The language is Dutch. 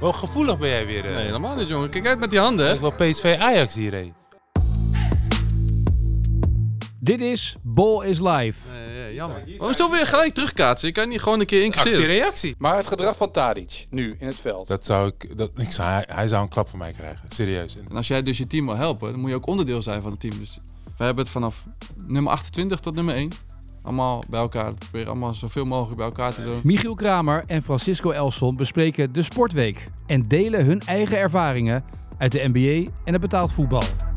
Wel gevoelig ben jij weer. eh. Nee, helemaal niet, jongen. Kijk uit met die handen, hè. Ik wil PSV Ajax hierheen. Dit is Ball is Live. Nee, nee, jammer. Hoezo weer gelijk terugkaatsen? Je kan niet gewoon een keer incasseren. Actie-reactie. Maar het gedrag van Tadic nu in het veld. Dat zou ik, dat, ik zou, hij, hij zou een klap van mij krijgen. Serieus. En En als jij dus je team wil helpen, dan moet je ook onderdeel zijn van het team. Dus we hebben het vanaf nummer 28 tot nummer 1 allemaal bij elkaar. We proberen allemaal zoveel mogelijk bij elkaar te doen. Michiel Kramer en Francisco Elson bespreken de Sportweek en delen hun eigen ervaringen uit de NBA en het betaald voetbal.